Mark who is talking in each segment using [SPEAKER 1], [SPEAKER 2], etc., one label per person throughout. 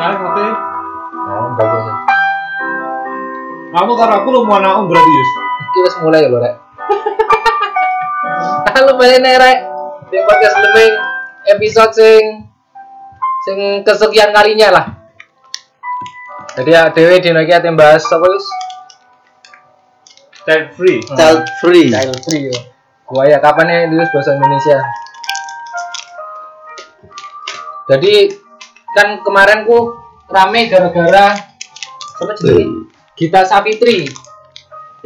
[SPEAKER 1] maling katanya
[SPEAKER 2] Oh, bagus.
[SPEAKER 1] Mampu karo aku lu mau naung berarti Yus
[SPEAKER 2] Iki wis mulai lho, Rek. Halo meneh, Rek. Di podcast Deming episode sing sing kesekian kalinya lah. Jadi ya Dewi dino iki ate bahas apa wis?
[SPEAKER 1] Child free
[SPEAKER 3] Child free.
[SPEAKER 2] Child free yo. Gua ya kapan ya lulus bahasa Indonesia? Jadi kan kemarin ku rame gara-gara apa jenenge? Gita Sapitri.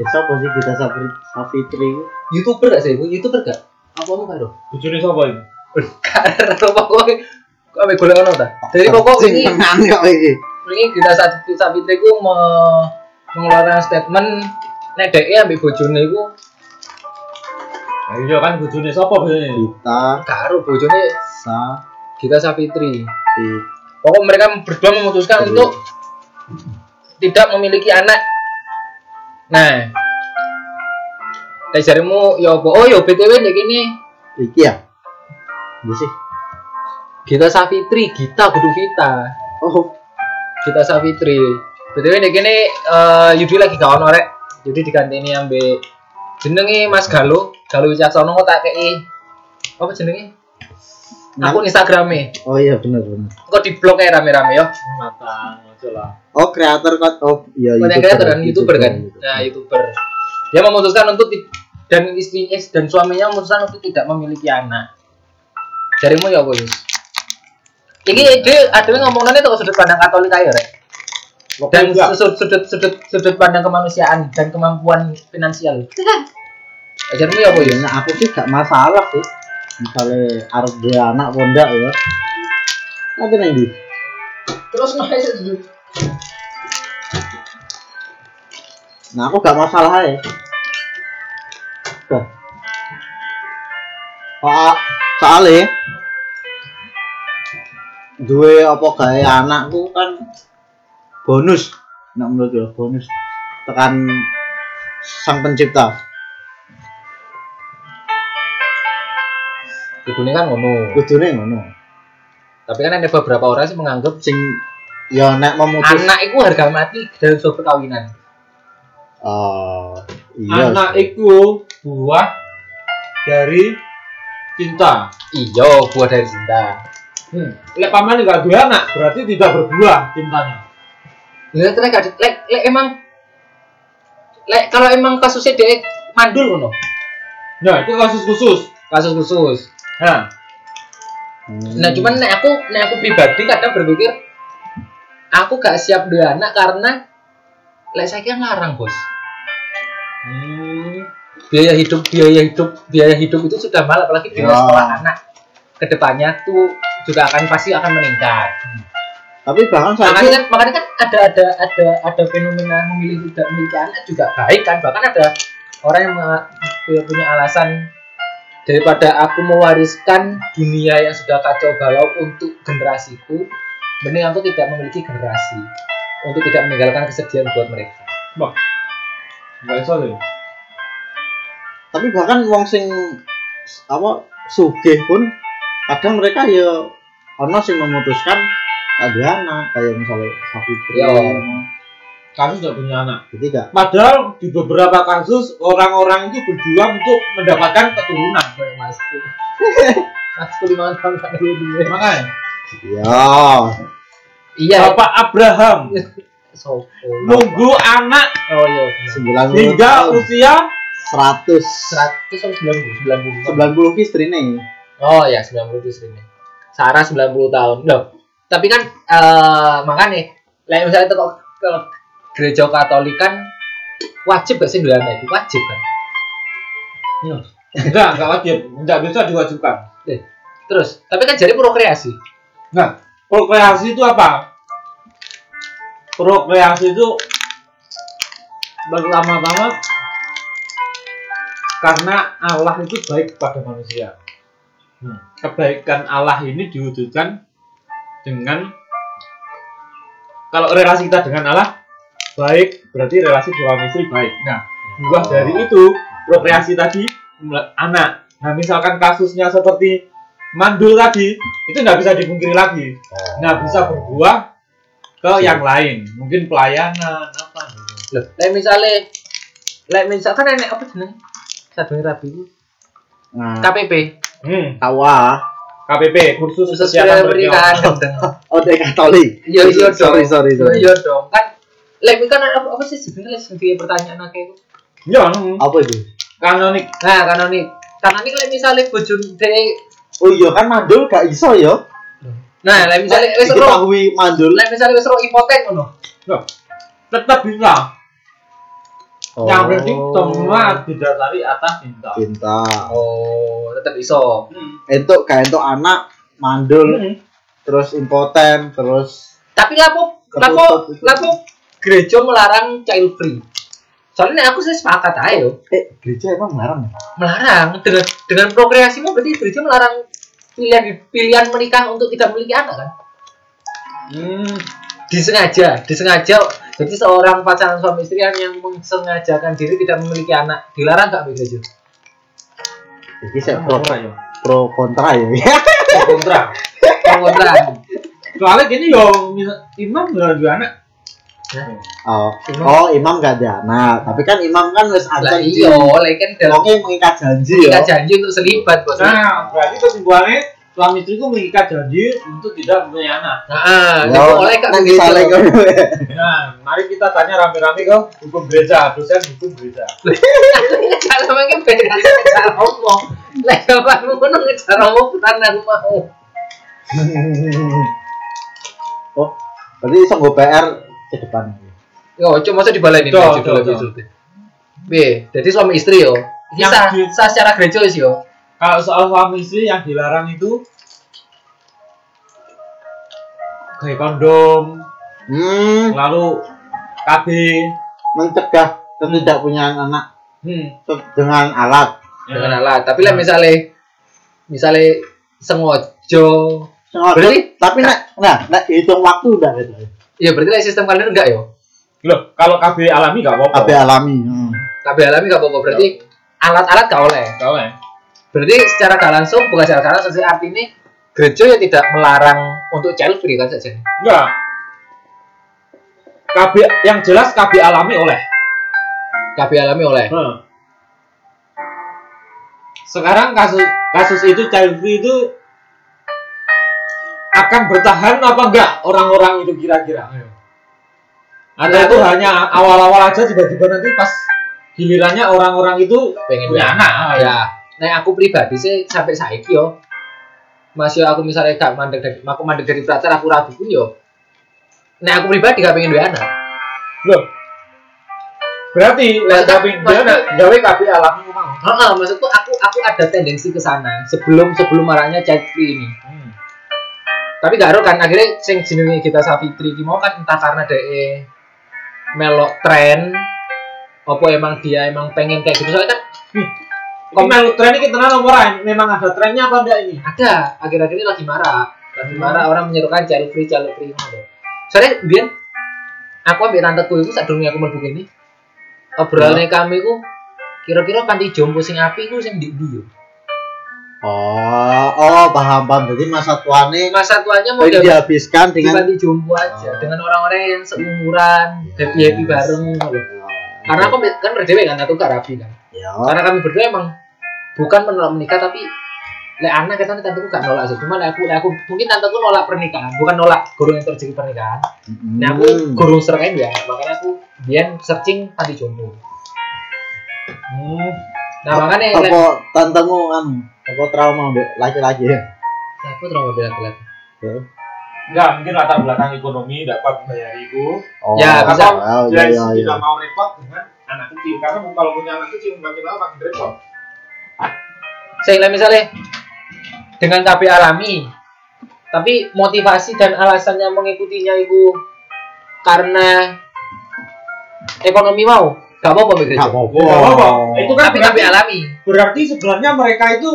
[SPEAKER 3] Ya siapa sih kita Sapri Sapitri?
[SPEAKER 2] YouTuber gak sih? YouTuber gak? Apa lu karo?
[SPEAKER 1] Bujuni siapa ini?
[SPEAKER 2] Karo pokoknya kok ambek golek ono ta. Jadi pokok
[SPEAKER 3] sing
[SPEAKER 2] ini
[SPEAKER 3] tenan kok iki.
[SPEAKER 2] ini kita saat Sapitri ku me- mengeluarkan statement nek dheke ambek bojone iku
[SPEAKER 1] Ayo iya kan bujuni siapa biasanya
[SPEAKER 3] Kita
[SPEAKER 2] karo bojone
[SPEAKER 3] Sapitri.
[SPEAKER 2] Gita Sapitri. Pokok mereka berdua memutuskan
[SPEAKER 3] Betul.
[SPEAKER 2] untuk tidak memiliki anak. Nah, Nek jarimu ya apa? Oh ya BTW nek ini
[SPEAKER 3] Iki ya. Ini sih.
[SPEAKER 2] Gita Sapitri, Gita Budu Vita.
[SPEAKER 3] Oh,
[SPEAKER 2] Gita Savitri. BTW nek kene eh, Yudi lagi gak ono rek. Yudi diganteni ambek jenenge Mas Galo, Galo Wicaksono kok tak kei apa jenenge? Akun Instagrame.
[SPEAKER 3] oh iya benar benar.
[SPEAKER 2] Engko di-blok ae rame-rame yo.
[SPEAKER 1] Matang aja lah
[SPEAKER 3] Oh, kreator kan oh iya
[SPEAKER 2] Konten kreator dan YouTuber kan.
[SPEAKER 3] YouTuber. iya.
[SPEAKER 2] Nah, YouTuber. Dia memutuskan untuk ti- dan istri eh, dan suaminya memutuskan untuk tidak memiliki anak. Jarimu ya apa, Yus? Iki ide adewe ngomongannya tuh sudut pandang Katolik aja rek. dan
[SPEAKER 1] Pokoknya
[SPEAKER 2] sudut sudut sudut sudut pandang kemanusiaan dan kemampuan finansial. Ajarmu ya apa ya?
[SPEAKER 3] Nah, aku sih gak masalah sih. Misalnya arep dia anak pondak ya. Nanti nang ndi?
[SPEAKER 2] Terus naik
[SPEAKER 3] Nah, aku gak masalah ya. Tuh. Oh, soalnya duwe apa gawe anakku kan bonus. Nek menurut gue bonus tekan sang pencipta.
[SPEAKER 2] Ibunya kan ngono.
[SPEAKER 3] Kudune ngono.
[SPEAKER 2] Tapi kan ada beberapa orang sih menganggap
[SPEAKER 3] Sing ya nek memutus
[SPEAKER 2] anak itu harga mati dalam sebuah perkawinan.
[SPEAKER 3] Oh, iya.
[SPEAKER 1] Anak
[SPEAKER 3] sih.
[SPEAKER 1] itu buah dari cinta
[SPEAKER 2] Iya, buah dari cinta.
[SPEAKER 1] Hmm. Lek paman nggak dua anak, berarti tidak berbuah cintanya.
[SPEAKER 2] Ya terus gak lek lek emang lek kalau emang kasusnya dia mandul ngono.
[SPEAKER 1] Nah, itu kasus khusus.
[SPEAKER 2] Kasus khusus.
[SPEAKER 1] Nah,
[SPEAKER 3] Hmm.
[SPEAKER 2] Nah cuman nek aku nek aku pribadi kadang berpikir aku gak siap duwe anak karena lek saiki kan larang, Bos.
[SPEAKER 1] hmm.
[SPEAKER 2] Biaya hidup, biaya hidup, biaya hidup itu sudah mahal apalagi biaya
[SPEAKER 3] Ya.
[SPEAKER 2] sekolah anak. Kedepannya tuh juga akan pasti akan meningkat.
[SPEAKER 3] tapi bahkan
[SPEAKER 2] Makanya
[SPEAKER 3] saya
[SPEAKER 2] kan, makanya kan ada ada ada ada fenomena memilih tidak memiliki anak juga baik kan bahkan ada orang yang menga- punya alasan daripada aku mewariskan dunia yang sudah kacau balau untuk generasiku mending aku tidak memiliki generasi untuk tidak meninggalkan kesedihan buat mereka
[SPEAKER 1] nggak bisa deh.
[SPEAKER 3] tapi bahkan wong sing apa sugih pun kadang mereka ya ono sing memutuskan ada anak kayak misalnya Sapitri
[SPEAKER 2] Ya.
[SPEAKER 1] Kasus nggak punya anak.
[SPEAKER 3] jadi gak
[SPEAKER 1] Padahal di beberapa kasus orang-orang itu berjuang untuk mendapatkan keturunan.
[SPEAKER 2] masku masku lima tahun kan dulu
[SPEAKER 1] Eh, Makanya,
[SPEAKER 3] ya
[SPEAKER 2] iya
[SPEAKER 1] Bapak Abraham
[SPEAKER 2] sopo
[SPEAKER 1] nunggu anak
[SPEAKER 2] oh iya
[SPEAKER 3] sembilan puluh
[SPEAKER 1] hingga usia
[SPEAKER 3] seratus
[SPEAKER 2] seratus sembilan puluh sembilan puluh
[SPEAKER 3] sembilan puluh istri nih
[SPEAKER 2] Oh ya 90 itu seringnya. Sarah 90 tahun. Loh. Tapi kan eh makanya lain misalnya teko ke gereja Katolik kan wajib gak sih dua anak itu wajib kan.
[SPEAKER 1] enggak, enggak wajib, enggak bisa diwajibkan.
[SPEAKER 2] Terus, tapi kan jadi prokreasi.
[SPEAKER 1] Nah, prokreasi itu apa? Prokreasi itu pertama-tama karena Allah itu baik kepada manusia. Hmm. Kebaikan Allah ini diwujudkan dengan kalau relasi kita dengan Allah baik, berarti relasi suami istri baik. Nah, buah dari itu prokreasi tadi mula- anak. Nah, misalkan kasusnya seperti mandul tadi, itu nggak bisa dipungkiri lagi. Nah, bisa berbuah ke yang lain mungkin pelayanan apa gitu
[SPEAKER 2] Loh, lek misale lek misal kan enek apa jeneng? Sadurunge rabi ku.
[SPEAKER 3] Nah,
[SPEAKER 2] KPP.
[SPEAKER 1] hmm.
[SPEAKER 3] tawa.
[SPEAKER 1] KPP kursus,
[SPEAKER 2] Khusus
[SPEAKER 1] kesehatan pernikahan
[SPEAKER 2] pernikahan.
[SPEAKER 3] Oh, dia Katolik.
[SPEAKER 2] Iya iya dong.
[SPEAKER 3] sorry, sorry, sorry.
[SPEAKER 2] Iya dong. Kan lek kan apa, apa sih sebenarnya lek sing pertanyaan akeh iku.
[SPEAKER 1] ya
[SPEAKER 3] Apa itu?
[SPEAKER 1] kanonik
[SPEAKER 2] Nah, kanonik. Kanonik lek misale bojone dhek
[SPEAKER 3] Oh iya kan mandul gak iso ya.
[SPEAKER 2] Nah, lek misale wis ro
[SPEAKER 3] diketahui mandul.
[SPEAKER 2] lek misale wis ro impoten ngono.
[SPEAKER 1] Loh, tetap bisa
[SPEAKER 3] Oh.
[SPEAKER 1] yang penting semua didasari atas cinta
[SPEAKER 3] cinta.
[SPEAKER 2] Oh, tetep iso.
[SPEAKER 1] Hmm.
[SPEAKER 3] Entuk gak entuk anak mandul
[SPEAKER 1] Hmm.
[SPEAKER 3] terus impoten terus
[SPEAKER 2] Tapi lapo lapo
[SPEAKER 3] Ketutup.
[SPEAKER 2] lapo gereja melarang child free. Soalnya nek aku sih sepakat ae yo.
[SPEAKER 3] eh gereja emang melarang ya?
[SPEAKER 2] melarang dengan dengan prokreasimu berarti gereja melarang pilihan pilihan menikah untuk tidak memiliki anak kan
[SPEAKER 1] Hmm.
[SPEAKER 2] disengaja disengaja jadi seorang pasangan suami istri yang mensengajakan diri tidak memiliki anak dilarang nggak Bu gereja
[SPEAKER 3] Jadi saya pro,
[SPEAKER 1] Apa ya?
[SPEAKER 3] pro kontra ya.
[SPEAKER 1] kontra
[SPEAKER 2] Oh, pengontrang
[SPEAKER 1] soalnya gini yo misal- imam gak ada anak
[SPEAKER 3] Oh,
[SPEAKER 2] Imam.
[SPEAKER 3] oh imam gak ada anak, tapi kan imam kan wis
[SPEAKER 2] lah
[SPEAKER 3] ancen
[SPEAKER 2] iyo lah kan dalam
[SPEAKER 3] Oke mengikat janji
[SPEAKER 2] kita
[SPEAKER 3] ya.
[SPEAKER 2] janji untuk selibat bos nah,
[SPEAKER 1] nah berarti kesimpulannya suami istriku mengikat janji untuk tidak mempunyai anak
[SPEAKER 2] ah,
[SPEAKER 3] Yo,
[SPEAKER 2] itu oleh kak
[SPEAKER 3] nang
[SPEAKER 2] gereja
[SPEAKER 3] disalek ngono ya.
[SPEAKER 1] nah mari kita tanya rame-rame ke hukum gereja dosen hukum gereja
[SPEAKER 2] kalau mungkin beda cara ngomong lah kamu ngono ngejar ngomong bukan aku mau
[SPEAKER 3] Oh, berarti iso nggo PR ke depan.
[SPEAKER 2] Yo, cuma saya dibalenin
[SPEAKER 1] Tuh,
[SPEAKER 2] aja
[SPEAKER 1] tuh,
[SPEAKER 2] dulu
[SPEAKER 1] tuh.
[SPEAKER 2] aja jadi suami istri yo. Ini
[SPEAKER 1] Yang
[SPEAKER 2] sah,
[SPEAKER 1] di-
[SPEAKER 2] sah secara gereja sih yo.
[SPEAKER 1] kalau soal suami istri yang dilarang itu kayak kondom
[SPEAKER 3] Hmm,
[SPEAKER 1] lalu KB
[SPEAKER 3] mencegah tidak punya anak
[SPEAKER 1] hmm.
[SPEAKER 3] dengan alat.
[SPEAKER 1] Ya Nah.
[SPEAKER 2] Dengan
[SPEAKER 1] kan?
[SPEAKER 2] alat. Tapi lah misalnya misalnya sengojo.
[SPEAKER 3] Sengaja.
[SPEAKER 2] Berarti?
[SPEAKER 3] tapi nek nah, nek hitung waktu udah gitu.
[SPEAKER 2] Ya berarti lah sistem kalian enggak yo.
[SPEAKER 1] Loh, kalau KB alami gak
[SPEAKER 3] KB
[SPEAKER 1] apa-apa.
[SPEAKER 3] alami. Hmm.
[SPEAKER 2] Tapi alami enggak apa-apa. Berarti alat-alat enggak oleh.
[SPEAKER 1] Tahu ya?
[SPEAKER 2] Berarti secara nggak langsung bukan secara nggak langsung sih artinya gereja ya tidak melarang untuk child free kan saja.
[SPEAKER 1] Enggak. KB yang jelas KB alami oleh.
[SPEAKER 2] KB alami oleh.
[SPEAKER 1] Hmm. Sekarang kasus kasus itu child free itu akan bertahan apa enggak orang-orang itu kira-kira? Ayo.
[SPEAKER 2] Ya,
[SPEAKER 1] Ada itu
[SPEAKER 2] aku-
[SPEAKER 1] hanya awal-awal aja tiba-tiba nanti pas gilirannya orang-orang itu
[SPEAKER 2] Pengen
[SPEAKER 1] punya anak.
[SPEAKER 2] ya nah aku pribadi sih sampai saiki yo masih aku misalnya gak mandek dari aku mandek dari frater aku ragu pun yo nah aku pribadi gak pengen duwe anak
[SPEAKER 1] Loh. Berarti lek
[SPEAKER 2] Maksudnya-
[SPEAKER 1] KB Iya, dia nak gawe KB alami mau.
[SPEAKER 2] Nah, Heeh, maksudku aku aku ada tendensi ke sana sebelum sebelum marahnya child free ini
[SPEAKER 1] Hmm.
[SPEAKER 2] tapi gak harus kan akhirnya sing jenenge kita Savitri ki mau kan entah karena de melok tren apa emang dia emang pengen kayak gitu soalnya kan
[SPEAKER 1] Kok melu tren ini tenan apa ora? Memang ada trennya apa enggak ini?
[SPEAKER 2] ada akhir-akhir ini lagi marah lagi marah orang menyerukan cari free cari free ngono. soalnya biar aku ambil tanteku itu saat dulu aku mau ini obrolannya
[SPEAKER 3] Iya.
[SPEAKER 2] kami ku kira-kira panti jompo sing api ku sing di dia
[SPEAKER 3] Oh, oh paham paham. Jadi masa tuane
[SPEAKER 2] masa tuanya mau
[SPEAKER 3] pengen
[SPEAKER 2] di
[SPEAKER 3] dihabiskan Oh, iya, dengan
[SPEAKER 2] panti jompo aja
[SPEAKER 3] Oh. Iya.
[SPEAKER 2] dengan orang-orang yang seumuran happy happy bareng ngono. karena aku ambil- kan berdua kan aku gak rapi kan
[SPEAKER 3] ya.
[SPEAKER 2] karena kami berdua emang bukan menolak menikah tapi lek anak katanya tanteku gak nolak sih cuma lek aku lek aku mungkin tanteku nolak pernikahan bukan nolak guru yang terjadi pernikahan
[SPEAKER 3] Mm.
[SPEAKER 2] Nah
[SPEAKER 1] Hmm.
[SPEAKER 2] aku kurung sering ya, makanya aku biar searching panti jompo.
[SPEAKER 1] Hmm.
[SPEAKER 2] Nah makanya lek-
[SPEAKER 3] apa tantemu kan apa trauma Mbak? laki-laki ya.
[SPEAKER 2] Nah, aku terlalu bilang bilang.
[SPEAKER 3] Ya.
[SPEAKER 1] Enggak, mungkin latar belakang ekonomi dapat membayar itu.
[SPEAKER 3] Oh,
[SPEAKER 2] Ya, bisa.
[SPEAKER 3] wow,
[SPEAKER 1] Jadi
[SPEAKER 3] ya, ya, ya.
[SPEAKER 1] tidak mau repot dengan anak kecil. Karena kalau punya anak kecil makin lama makin repot.
[SPEAKER 2] Saya lek misalnya dengan KB alami, tapi motivasi dan alasannya mengikutinya itu karena ekonomi mau, gak apa-apa begitu.
[SPEAKER 3] Gak apa-apa.
[SPEAKER 1] Ya, nggak apa-apa. Itu kan
[SPEAKER 2] Tapi KB
[SPEAKER 1] berarti,
[SPEAKER 2] alami.
[SPEAKER 1] berarti sebenarnya mereka itu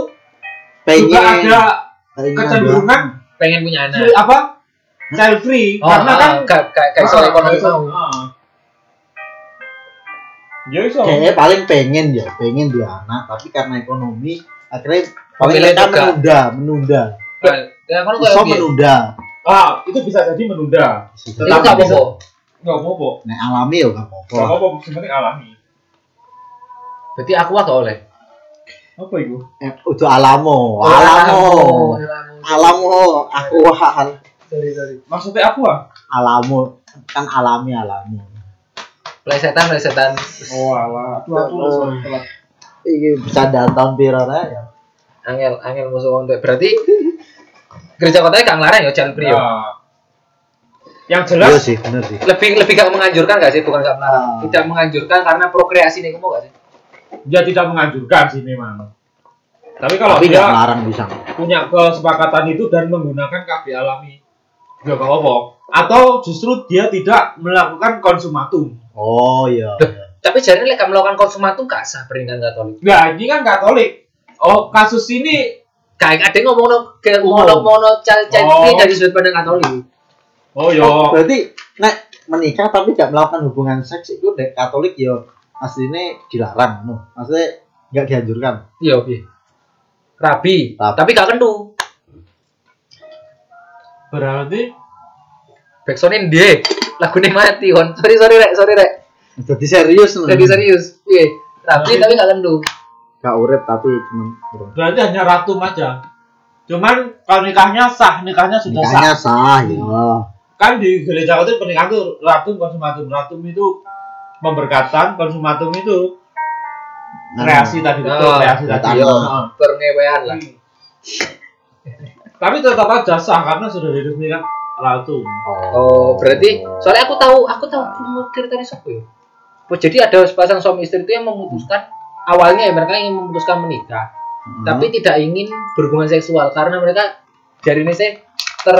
[SPEAKER 3] pengen
[SPEAKER 1] juga ada
[SPEAKER 3] pengen
[SPEAKER 1] kecenderungan
[SPEAKER 2] pengen punya
[SPEAKER 1] free,
[SPEAKER 2] anak.
[SPEAKER 1] apa? Child free
[SPEAKER 2] Iya. Oh,
[SPEAKER 1] Iya,
[SPEAKER 2] kan-
[SPEAKER 1] karena kan
[SPEAKER 2] gak gak gak soal
[SPEAKER 1] Ah, nggak
[SPEAKER 2] ekonomi
[SPEAKER 1] iso.
[SPEAKER 2] mau.
[SPEAKER 1] Ah. Ya
[SPEAKER 2] gitu.
[SPEAKER 1] iso.
[SPEAKER 3] doang. kayaknya paling pengen ya pengen dia anak tapi karena ekonomi akhirnya paling
[SPEAKER 2] Pemilih
[SPEAKER 3] mereka
[SPEAKER 2] juga.
[SPEAKER 3] menunda menunda
[SPEAKER 2] Nah, kan aku
[SPEAKER 3] iso
[SPEAKER 2] kayak
[SPEAKER 3] menunda
[SPEAKER 1] ah itu bisa jadi menunda
[SPEAKER 2] Itu gak
[SPEAKER 1] bisa.
[SPEAKER 2] apa-apa.
[SPEAKER 1] nggak apa-apa
[SPEAKER 3] Nek alami ya gak
[SPEAKER 1] nggak
[SPEAKER 3] apa-apa.
[SPEAKER 1] apa-apa yang penting alami
[SPEAKER 2] Berarti aku agak oleh.
[SPEAKER 1] apa itu
[SPEAKER 3] Eh, udah alamo, alamo,
[SPEAKER 2] Alamo.
[SPEAKER 3] alamo, aku hal
[SPEAKER 2] Sorry, sorry.
[SPEAKER 1] maksudnya aku ah
[SPEAKER 3] alamo kan alami alami.
[SPEAKER 2] Plesetan, plesetan.
[SPEAKER 1] oh alah aku aku
[SPEAKER 3] Oh.
[SPEAKER 1] langsung telat.
[SPEAKER 3] Iki bisa datang viral aja.
[SPEAKER 2] Angel, angel musuh kontek. Berarti gereja kotanya gak ngelarang ya jalan pria.
[SPEAKER 1] Nah. yang
[SPEAKER 3] Iya
[SPEAKER 1] jelas
[SPEAKER 3] sih, bener sih.
[SPEAKER 2] Lebih lebih gak menganjurkan gak sih? Bukan gak melarang.
[SPEAKER 3] Ah.
[SPEAKER 2] Tidak menganjurkan karena prokreasi nih kamu gak sih?
[SPEAKER 1] dia tidak menganjurkan sih memang tapi kalau
[SPEAKER 3] Tapi
[SPEAKER 1] dia
[SPEAKER 3] gak larang bisa.
[SPEAKER 1] punya kesepakatan itu dan menggunakan KB alami juga gak apa atau justru dia tidak melakukan konsumatum
[SPEAKER 3] Oh iya.
[SPEAKER 2] Tapi jadi lek melakukan konsumatum gak sah pernikahan Katolik.
[SPEAKER 1] nah ini kan Katolik oh kasus ini
[SPEAKER 2] Kayak ada ngomong no, ngomong
[SPEAKER 1] Umum.
[SPEAKER 2] ngomong no,
[SPEAKER 1] Oh.
[SPEAKER 2] dari sudut pandang Katolik.
[SPEAKER 1] oh
[SPEAKER 3] Oh,
[SPEAKER 1] yo
[SPEAKER 3] berarti nek menikah tapi gak melakukan hubungan seks itu nek Katolik ya aslinya dilarang, no. Maksudnya gak dianjurkan.
[SPEAKER 2] Iya, oke. Rabi,
[SPEAKER 3] Rabi.
[SPEAKER 2] tapi gak kentu.
[SPEAKER 1] berarti
[SPEAKER 2] Backsoundnya ndek. Lagunya mati, kon. Sorry, sorry, rek, sorry, rek.
[SPEAKER 3] Jadi serius, no.
[SPEAKER 2] Jadi serius. Iya. Rabi tapi gak kentu.
[SPEAKER 3] Gak urip tapi cuman urung.
[SPEAKER 1] berarti hanya ratum aja cuman kalau nikahnya sah nikahnya sudah
[SPEAKER 3] Nikahnya
[SPEAKER 1] sah
[SPEAKER 3] sah, ya.
[SPEAKER 1] kan di gereja Katolik pernikahan itu ratum konsumatum ratum itu pemberkatan konsumatum itu Hmm. kreasi tadi betul
[SPEAKER 2] Oh,
[SPEAKER 1] kreasi tadi
[SPEAKER 3] Hmm. betul.
[SPEAKER 1] Heeh.
[SPEAKER 2] Berngewean lah.
[SPEAKER 1] tapi tetap aja sah karena sudah diresmikan ratum
[SPEAKER 2] Oh, berarti
[SPEAKER 3] Hmm.
[SPEAKER 2] soalnya aku tahu, aku tahu pemikir tadi siapa ya. Oh, jadi ada sepasang suami istri itu yang memutuskan awalnya ya mereka ingin memutuskan menikah,
[SPEAKER 3] Hmm.
[SPEAKER 2] tapi tidak ingin berhubungan seksual karena mereka dari ini sih ter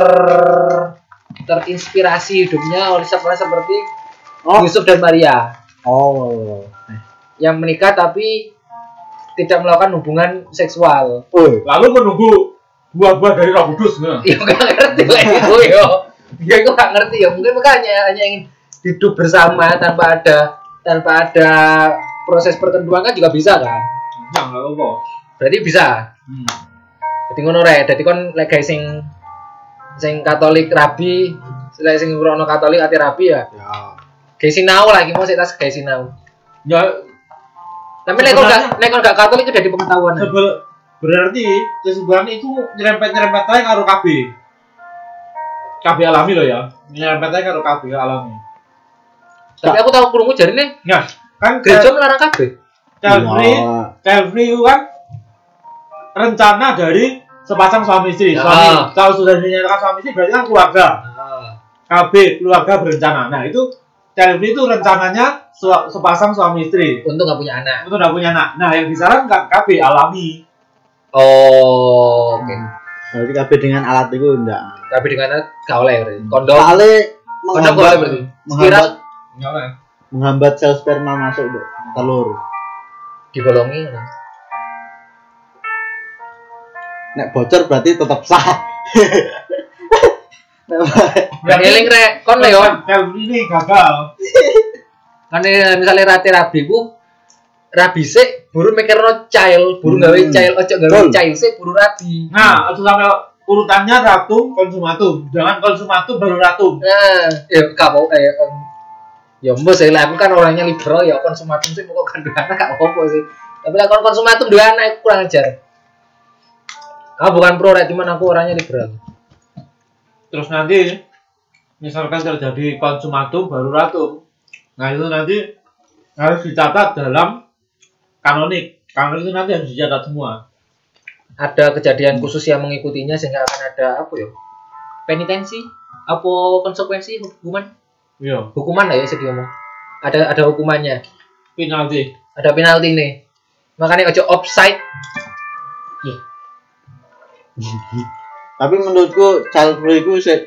[SPEAKER 2] terinspirasi hidupnya oleh seperti seperti
[SPEAKER 3] oh,
[SPEAKER 2] Yusuf dan Maria
[SPEAKER 3] oh,
[SPEAKER 2] yang menikah tapi tidak melakukan hubungan seksual.
[SPEAKER 3] oh,
[SPEAKER 1] lalu menunggu buah-buah dari Roh Kudus nah.
[SPEAKER 2] Ya nggak ngerti lah itu ya. Ya aku nggak ngerti ya. Mungkin mereka hanya hanya ingin hidup bersama tanpa ada tanpa ada proses pertentuan kan juga bisa kan.
[SPEAKER 1] Nah, nggak apa-apa.
[SPEAKER 2] Berarti bisa.
[SPEAKER 1] Hmm.
[SPEAKER 2] Jadi ngono rek. Jadi kon lek guys sing sing Katolik rabi, lek sing rono Katolik ati rabi ya.
[SPEAKER 3] ya,
[SPEAKER 2] Guys sinau lagi mau sik tas guys sinau.
[SPEAKER 1] Ya,
[SPEAKER 2] Tapi lek kon gak lek kon gak Katolik udah di pengetahuan.
[SPEAKER 1] sebel- berarti kesembuhan itu nyerempet-nyerempet aja karo KB. KB alami loh ya. Nyerempet aja karo KB alami.
[SPEAKER 2] Tapi aku tahu krungu jarine
[SPEAKER 1] Nah, kan
[SPEAKER 2] gereja melarang kabeh.
[SPEAKER 1] Calvary,
[SPEAKER 3] Ya.
[SPEAKER 1] Calvary itu kan rencana dari sepasang suami istri.
[SPEAKER 2] Ya.
[SPEAKER 1] Suami, kalau sudah dinyatakan suami istri berarti kan keluarga.
[SPEAKER 2] Ah,
[SPEAKER 1] KB keluarga berencana. Nah itu Calvary itu rencananya su- sepasang suami istri.
[SPEAKER 2] Untung gak punya anak.
[SPEAKER 1] Itu udah punya anak. Nah yang disarankan KB alami.
[SPEAKER 2] Oh, oke.
[SPEAKER 3] berarti kabeh dengan alat itu enggak.
[SPEAKER 2] Tapi dengan anak gak oleh berarti. Kondom.
[SPEAKER 3] Soalnya
[SPEAKER 2] Kondom gak
[SPEAKER 3] menghambat,
[SPEAKER 2] oleh berarti. Spiral
[SPEAKER 3] menghambat,
[SPEAKER 1] Enggak lah.
[SPEAKER 3] menghambat sel sperma masuk Dok, telur.
[SPEAKER 2] dibolongi.
[SPEAKER 3] Nek bocor berarti tetap sah.
[SPEAKER 2] Dan eling rek, kon lho yo.
[SPEAKER 1] Calvary Kan ini gagal.
[SPEAKER 2] kan eh, misalnya rate rabi ku rabi sik buru mikirno child buru
[SPEAKER 3] Hmm.
[SPEAKER 2] gawe child ojo gawe
[SPEAKER 3] Betul.
[SPEAKER 2] child sik buru rabi
[SPEAKER 1] Nah itu sampai urutannya ratum konsumatum. Jangan konsumatum baru ratum.
[SPEAKER 2] nah ya gak mau eh em, ya mbok sih lah aku kan orangnya liberal ya konsumatum sih pokok kan dua anak gak apa sih tapi lah kalau konsumatum dua anak aku kurang ajar ah bukan pro rek cuman aku orangnya liberal
[SPEAKER 1] Terus nanti misalkan terjadi konsumatum baru ratum. Nah itu nanti harus dicatat dalam kanonik. Kanonik itu nanti harus dicatat semua.
[SPEAKER 2] ada kejadian khusus yang mengikutinya sehingga akan ada apa ya penitensi apa konsekuensi hukuman
[SPEAKER 1] Iya,
[SPEAKER 2] hukuman lah ya sedih ngomong ada ada hukumannya
[SPEAKER 1] penalti.
[SPEAKER 2] ada penalti nih makanya ojo offside
[SPEAKER 3] Tapi menurutku child free itu sih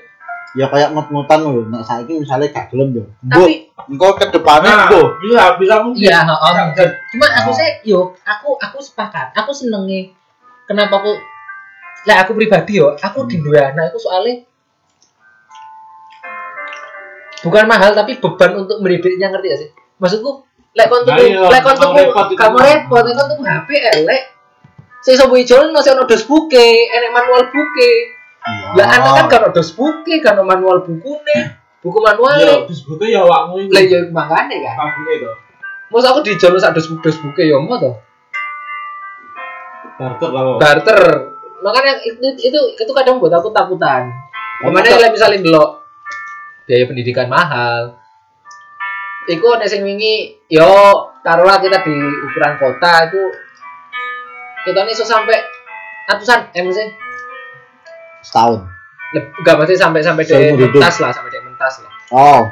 [SPEAKER 3] ya kayak mut-mutan loh. Nek saiki misalnya gak gelem yo. Mbok,
[SPEAKER 2] tapi
[SPEAKER 3] engko ke depannya
[SPEAKER 1] Nah,
[SPEAKER 3] engko.
[SPEAKER 1] bisa, bisa mungkin.
[SPEAKER 2] iya heeh.
[SPEAKER 1] Dan-
[SPEAKER 2] cuma aku
[SPEAKER 3] Oh.
[SPEAKER 2] sih yo aku aku sepakat aku senengi kenapa aku lah aku pribadi yo aku di dua anak aku soalnya bukan mahal tapi beban untuk mendidiknya ngerti gak sih maksudku lek kon tuku
[SPEAKER 1] Nah, iya,
[SPEAKER 2] lek kon
[SPEAKER 1] kamu
[SPEAKER 2] tuku
[SPEAKER 1] repot itu.
[SPEAKER 2] kamu repot lek kon tuku HP elek sing sopo ijo ono sing ono dos buke enek manual buke
[SPEAKER 3] Iya.
[SPEAKER 2] Lah anak
[SPEAKER 3] Ah.
[SPEAKER 2] kan kan ada buku, kan ada manual bukune, buku
[SPEAKER 1] Ya,
[SPEAKER 2] manual.
[SPEAKER 1] bis buku ya awakmu
[SPEAKER 2] Lah
[SPEAKER 1] iki.
[SPEAKER 2] ya mangane kan.
[SPEAKER 1] Kampungnya itu.
[SPEAKER 2] Mas aku di jalur sak dos dos buku ya mau toh.
[SPEAKER 1] Barter lah kok.
[SPEAKER 2] Barter. Makanya itu itu itu kadang buat aku takutan.
[SPEAKER 3] Karena
[SPEAKER 2] Kemana kalian bisa ndelok biaya pendidikan mahal. Iku nek sing wingi yo taruhlah kita di ukuran kota itu kita nih so sampai ratusan M sih.
[SPEAKER 3] setahun
[SPEAKER 2] Leb- Gak pasti sampai sampai dari
[SPEAKER 3] Seumur hidup.
[SPEAKER 2] mentas lah, sampai dari mentas lah.
[SPEAKER 3] oh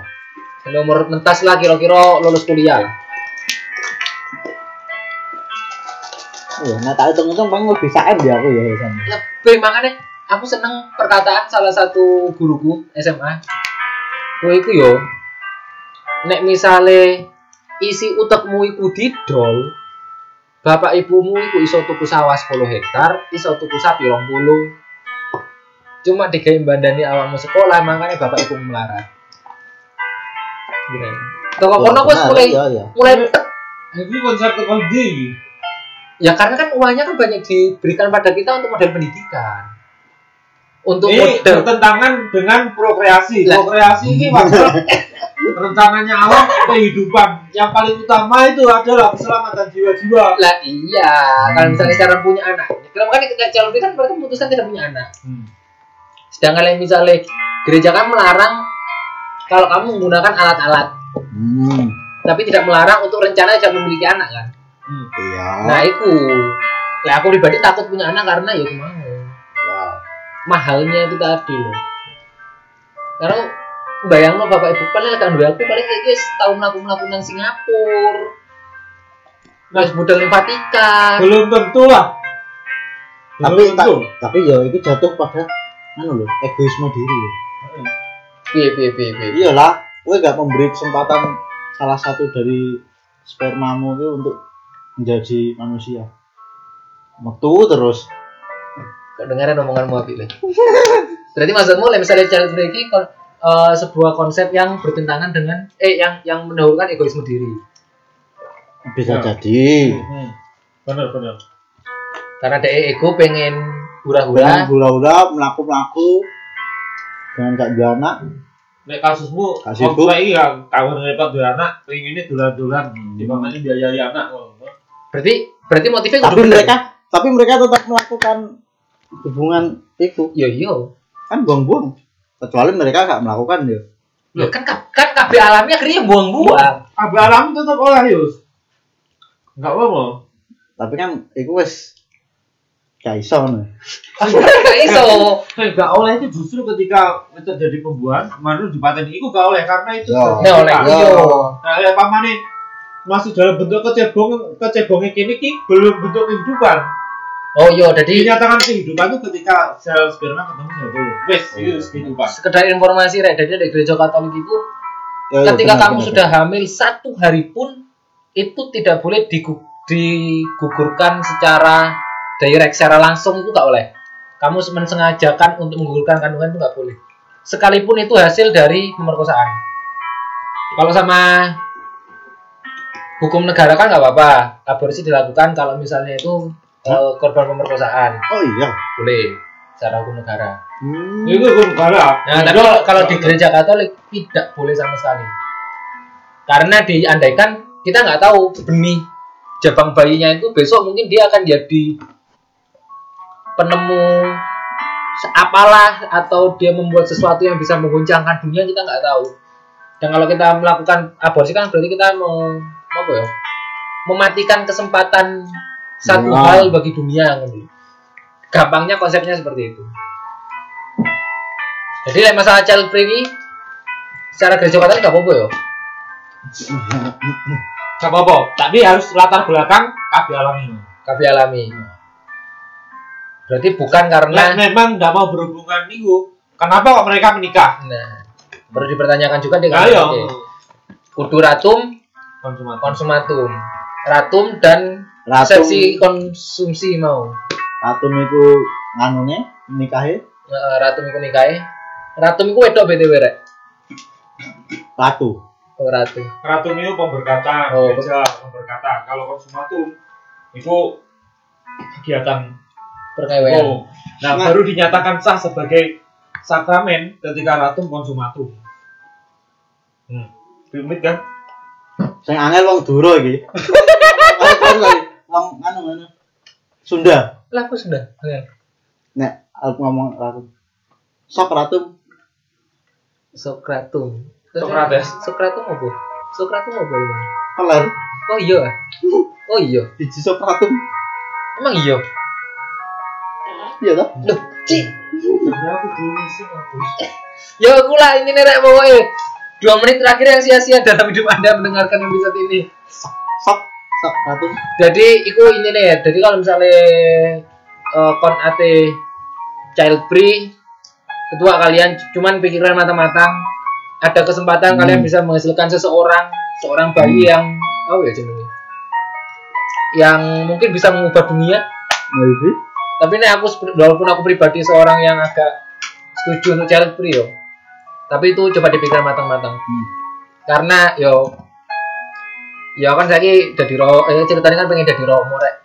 [SPEAKER 2] Sampai umur mentas lah kira-kira lulus kuliah lah.
[SPEAKER 3] iya nah tak hitung hitung paling lebih saem ya aku ya biasanya
[SPEAKER 2] lebih makanya aku seneng perkataan salah satu guruku SMA kowe iku yo nek misale isi utekmu iku didol bapak ibumu iku iso tuku sawah 10 hektar iso tuku sapi 20 cuma digawe bandani awakmu sekolah makanya bapak ibumu melarat Gini. Toko kono wis
[SPEAKER 3] Benar,
[SPEAKER 2] mulai
[SPEAKER 3] iya iya
[SPEAKER 2] mulai
[SPEAKER 1] Iki konsep tekon ndi iki?
[SPEAKER 2] ya karena kan uangnya kan banyak diberikan pada kita untuk modal pendidikan. Untuk
[SPEAKER 1] Ini
[SPEAKER 2] modal
[SPEAKER 1] bertentangan dengan prokreasi.
[SPEAKER 2] Lah.
[SPEAKER 1] Prokreasi ini maksud rencangannya alam kehidupan. Yang paling utama itu adalah keselamatan jiwa-jiwa.
[SPEAKER 2] lah iya kalau misalnya secara punya anak kalau kan calon kan mereka memutuskan tidak punya anak sedangkan yang misalnya gereja kan melarang kalau kamu menggunakan alat-alat
[SPEAKER 3] hmm
[SPEAKER 2] tapi tidak melarang untuk rencana jangan memiliki anak kan
[SPEAKER 1] Hmm.
[SPEAKER 3] iya
[SPEAKER 2] nah itu lah aku pribadi takut punya anak karena ya itu mau
[SPEAKER 3] Ya.
[SPEAKER 2] mahalnya itu tadi loh karena bayang lo bapak ibu paling agak dua aku paling kayak guys tahu melaku melaku nang Singapura Terus budal yang Vatikan
[SPEAKER 1] Belum tentu ah. lah.
[SPEAKER 3] tapi tak, tapi ya itu jatuh pada anu loh egoisme diri loh
[SPEAKER 2] Piye, piye, piye, piye.
[SPEAKER 3] iyalah gue gak memberi kesempatan salah satu dari spermamu itu untuk menjadi manusia metu terus
[SPEAKER 2] Kok dengerin omonganmu Abi Le? Berarti maksudmu lah misalnya Charles Frey ini kon- eh, sebuah konsep yang bertentangan dengan eh yang yang mendahulukan egoisme diri.
[SPEAKER 3] bisa
[SPEAKER 1] Ya.
[SPEAKER 3] jadi
[SPEAKER 1] Hmm. Benar benar.
[SPEAKER 2] Karena dia ego pengen
[SPEAKER 3] dengan
[SPEAKER 2] hura-hura.
[SPEAKER 3] gula-gula melaku melaku dengan gak dua anak
[SPEAKER 1] Nek kasusmu,
[SPEAKER 3] Kasusku.
[SPEAKER 1] kasusmu lagi yang kawin repot dua anak, pengen ini dulan-dulan,
[SPEAKER 3] Hmm.
[SPEAKER 1] dimakan biayai anak. Oh,
[SPEAKER 2] Berarti berarti motifnya
[SPEAKER 3] tapi
[SPEAKER 2] kudu bener.
[SPEAKER 3] mereka tapi mereka tetap melakukan hubungan itu
[SPEAKER 2] yo yo.
[SPEAKER 3] kan buang-buang kecuali mereka gak melakukan ya
[SPEAKER 2] Loh, kan ka- kan kabeh alamnya akhirnya buang-buang.
[SPEAKER 1] Abah alam tetap olah yus. Enggak apa-apa.
[SPEAKER 3] tapi kan itu wes gak iso nih
[SPEAKER 2] Kayak iso.
[SPEAKER 1] Nah, gak oleh itu justru ketika terjadi pembuahan, kemarin dipateni itu gak oleh karena itu
[SPEAKER 3] Ya.
[SPEAKER 1] sudah
[SPEAKER 2] Ya oleh
[SPEAKER 1] dibuka.
[SPEAKER 2] yo.
[SPEAKER 1] Nah, ya pamane masih dalam bentuk kecebong kecebongnya kini ki belum bentuk kehidupan.
[SPEAKER 2] Oh yo, jadi
[SPEAKER 3] Iya.
[SPEAKER 1] Dinyatakan kehidupan itu ketika sel sperma ketemu ya, sel telur. Wes, itu
[SPEAKER 3] Iya.
[SPEAKER 1] kehidupan.
[SPEAKER 2] sekedar informasi rek, jadi dari gereja Katolik itu
[SPEAKER 3] Ya, ya,
[SPEAKER 2] ketika
[SPEAKER 3] benar,
[SPEAKER 2] kamu
[SPEAKER 3] benar,
[SPEAKER 2] sudah hamil satu hari pun itu tidak boleh digu- digugurkan secara direct secara langsung itu nggak boleh kamu mensengajakan untuk menggugurkan kandungan itu nggak boleh sekalipun itu hasil dari pemerkosaan kalau sama hukum negara kan nggak apa-apa aborsi dilakukan kalau misalnya itu
[SPEAKER 3] Hmm?
[SPEAKER 2] eh, korban pemerkosaan
[SPEAKER 3] benar. oh iya
[SPEAKER 2] boleh secara hukum negara
[SPEAKER 3] Hmm.
[SPEAKER 1] Itu gue negara.
[SPEAKER 2] Nah, tapi kalau, kalau di gereja Katolik tidak boleh sama sekali. Karena diandaikan kita nggak tahu benih jabang bayinya itu besok mungkin dia akan jadi penemu se- apalah atau dia membuat sesuatu yang bisa mengguncangkan dunia kita nggak tahu. Dan kalau kita melakukan aborsi kan berarti kita mau apa ya? Mematikan kesempatan satu
[SPEAKER 3] Wow.
[SPEAKER 2] hal bagi dunia kan. Gampangnya konsepnya seperti itu. Jadi lah masalah child free ini secara gereja katolik gak apa-apa ya.
[SPEAKER 1] Gak apa-apa, tapi harus latar belakang KB alami.
[SPEAKER 2] Kami alami. Berarti bukan
[SPEAKER 1] Nah,
[SPEAKER 2] karena
[SPEAKER 1] memang gak mau berhubungan niku. Kenapa kok mereka menikah? iya.
[SPEAKER 2] nah perlu dipertanyakan juga di
[SPEAKER 1] Ayo,
[SPEAKER 2] kudu ratum
[SPEAKER 1] konsumator.
[SPEAKER 2] konsumatum ratum dan
[SPEAKER 3] Ratum,
[SPEAKER 2] seksi konsumsi mau
[SPEAKER 3] ratum itu nganune nikahe
[SPEAKER 2] Eh, ratum iku nikahe ratum iku wedok btw rek
[SPEAKER 3] ratu.
[SPEAKER 2] oh ratu
[SPEAKER 1] Keratum itu pemberkatan,
[SPEAKER 2] Oh,
[SPEAKER 1] gereja pemberkatan. Kalau konsumatum itu kegiatan
[SPEAKER 2] perkawinan
[SPEAKER 1] oh, Nah,
[SPEAKER 3] Nah.
[SPEAKER 1] baru dinyatakan sah sebagai sakramen ketika ratu konsumatum. Hmm. Rumit kan?
[SPEAKER 3] Sing angel wong Duro iki. Wong- wong- Wong anu anu. Sunda.
[SPEAKER 2] Lah aku sudah. Angel.
[SPEAKER 3] Nek aku ngomong ratu. Sok ratu.
[SPEAKER 2] Sokratum. Terus-
[SPEAKER 1] Sokrates.
[SPEAKER 2] Sokratum apa? Sokratum apa emang?
[SPEAKER 3] Kelar.
[SPEAKER 2] Oh iya. ah. Oh iya.
[SPEAKER 3] Biji sok ratu.
[SPEAKER 2] Emang iya.
[SPEAKER 3] Iya toh?
[SPEAKER 2] Loh, Ci.
[SPEAKER 1] Ya aku dulu sih aku.
[SPEAKER 2] Ya aku lah ini nerek pokoknya. Dua menit terakhir yang sia-sia dalam hidup anda mendengarkan episode ini.
[SPEAKER 3] Sok sok ratu.
[SPEAKER 2] Jadi, iku ini nih. Jadi kalau misalnya eh, kon ate child free, ketua kalian c- cuman pikiran matang-matang. Ada kesempatan
[SPEAKER 3] Hmm.
[SPEAKER 2] kalian bisa menghasilkan seseorang, seorang bayi yang oh ya jenenge. Yang mungkin bisa mengubah dunia.
[SPEAKER 3] Nah, iki.
[SPEAKER 2] Tapi nih aku sep- walaupun aku pribadi seorang yang agak setuju untuk child free yo. Tapi itu coba dipikir matang-matang
[SPEAKER 3] Hmm.
[SPEAKER 2] karena yo ya kan saya jadi roh eh, ceritanya kan pengen jadi romo rek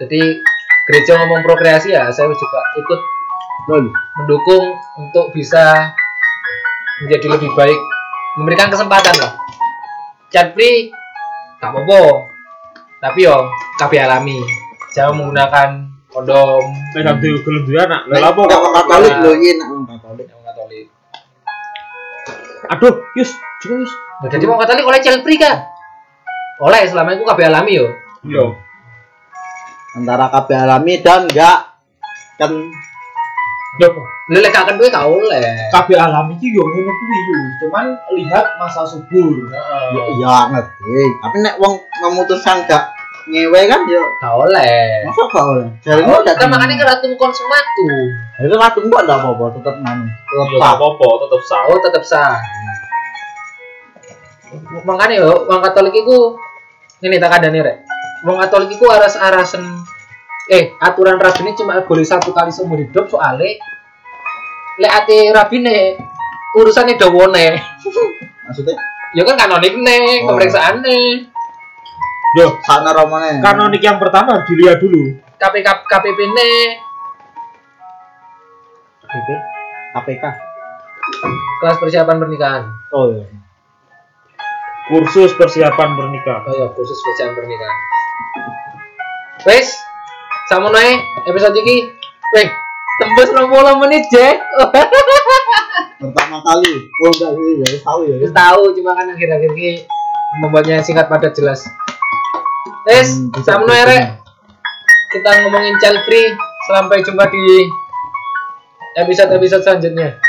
[SPEAKER 2] jadi gereja ngomong prokreasi ya saya juga ikut
[SPEAKER 3] Lol.
[SPEAKER 2] mendukung untuk bisa menjadi lebih baik memberikan kesempatan lah chat free gak apa tapi yo kabeh alami jangan menggunakan kondom
[SPEAKER 1] Tidak tahu belum dua anak. Lah
[SPEAKER 3] Nek
[SPEAKER 1] apa
[SPEAKER 3] nek wong Katolik
[SPEAKER 2] Lah.
[SPEAKER 3] lho iya nek wong Katolik.
[SPEAKER 2] yang katolik
[SPEAKER 1] Aduh, yus, juga yus.
[SPEAKER 2] Nah, jadi mau katolik oleh child free kan oleh selama itu kabeh alami yo
[SPEAKER 1] Yo.
[SPEAKER 3] Antara kabeh alami dan enggak kan
[SPEAKER 1] Yo.
[SPEAKER 2] lelek kaken gue gak oleh
[SPEAKER 1] KB alami iki yo ngono kuwi yo. Cuman lihat masa subur.
[SPEAKER 3] ya
[SPEAKER 1] iya.
[SPEAKER 3] ya ngerti. Tapi nek wong memutuskan gak ngewe kan ya
[SPEAKER 2] Gak oleh.
[SPEAKER 3] masa gak oleh. Jarene
[SPEAKER 2] Oh,
[SPEAKER 3] gak
[SPEAKER 2] kan makanya keratum konsumatu.
[SPEAKER 3] Itu ratu kok enggak apa-apa tetep nganu. Tetep
[SPEAKER 1] Yo
[SPEAKER 3] sah.
[SPEAKER 1] gak Iya, apa-apa, tetep sah.
[SPEAKER 2] Oh, tetap sah. Makanya yo, wong Katolik iku ini tak ada nih rek. Wong Katolik iku aras arasen eh aturan rabine cuma boleh satu kali seumur hidup soale lek ate rabine urusannya dawane.
[SPEAKER 3] Maksudnya
[SPEAKER 2] Ya kan kanonik nih,
[SPEAKER 3] Oh.
[SPEAKER 2] pemeriksaan nih.
[SPEAKER 1] Yo,
[SPEAKER 3] sana romane.
[SPEAKER 1] kanonik yang pertama harus dilihat dulu.
[SPEAKER 2] KPK KPP nih,
[SPEAKER 3] KPK. KPK.
[SPEAKER 2] kelas persiapan pernikahan.
[SPEAKER 3] Oh iya.
[SPEAKER 1] Kursus persiapan pernikahan.
[SPEAKER 2] Oh iya, khusus bacaan pernikahan. Wes, sama naik episode ini. Weh, tembus 20 menit, Jek.
[SPEAKER 3] Pertama kali. Oh enggak iya ya wis tahu ya.
[SPEAKER 2] Wis tahu cuma kan akhir-akhir ini membuatnya singkat padat jelas. Wes, sama naik, Rek. Kita ngomongin child free. Sampai jumpa di episode-episode selanjutnya.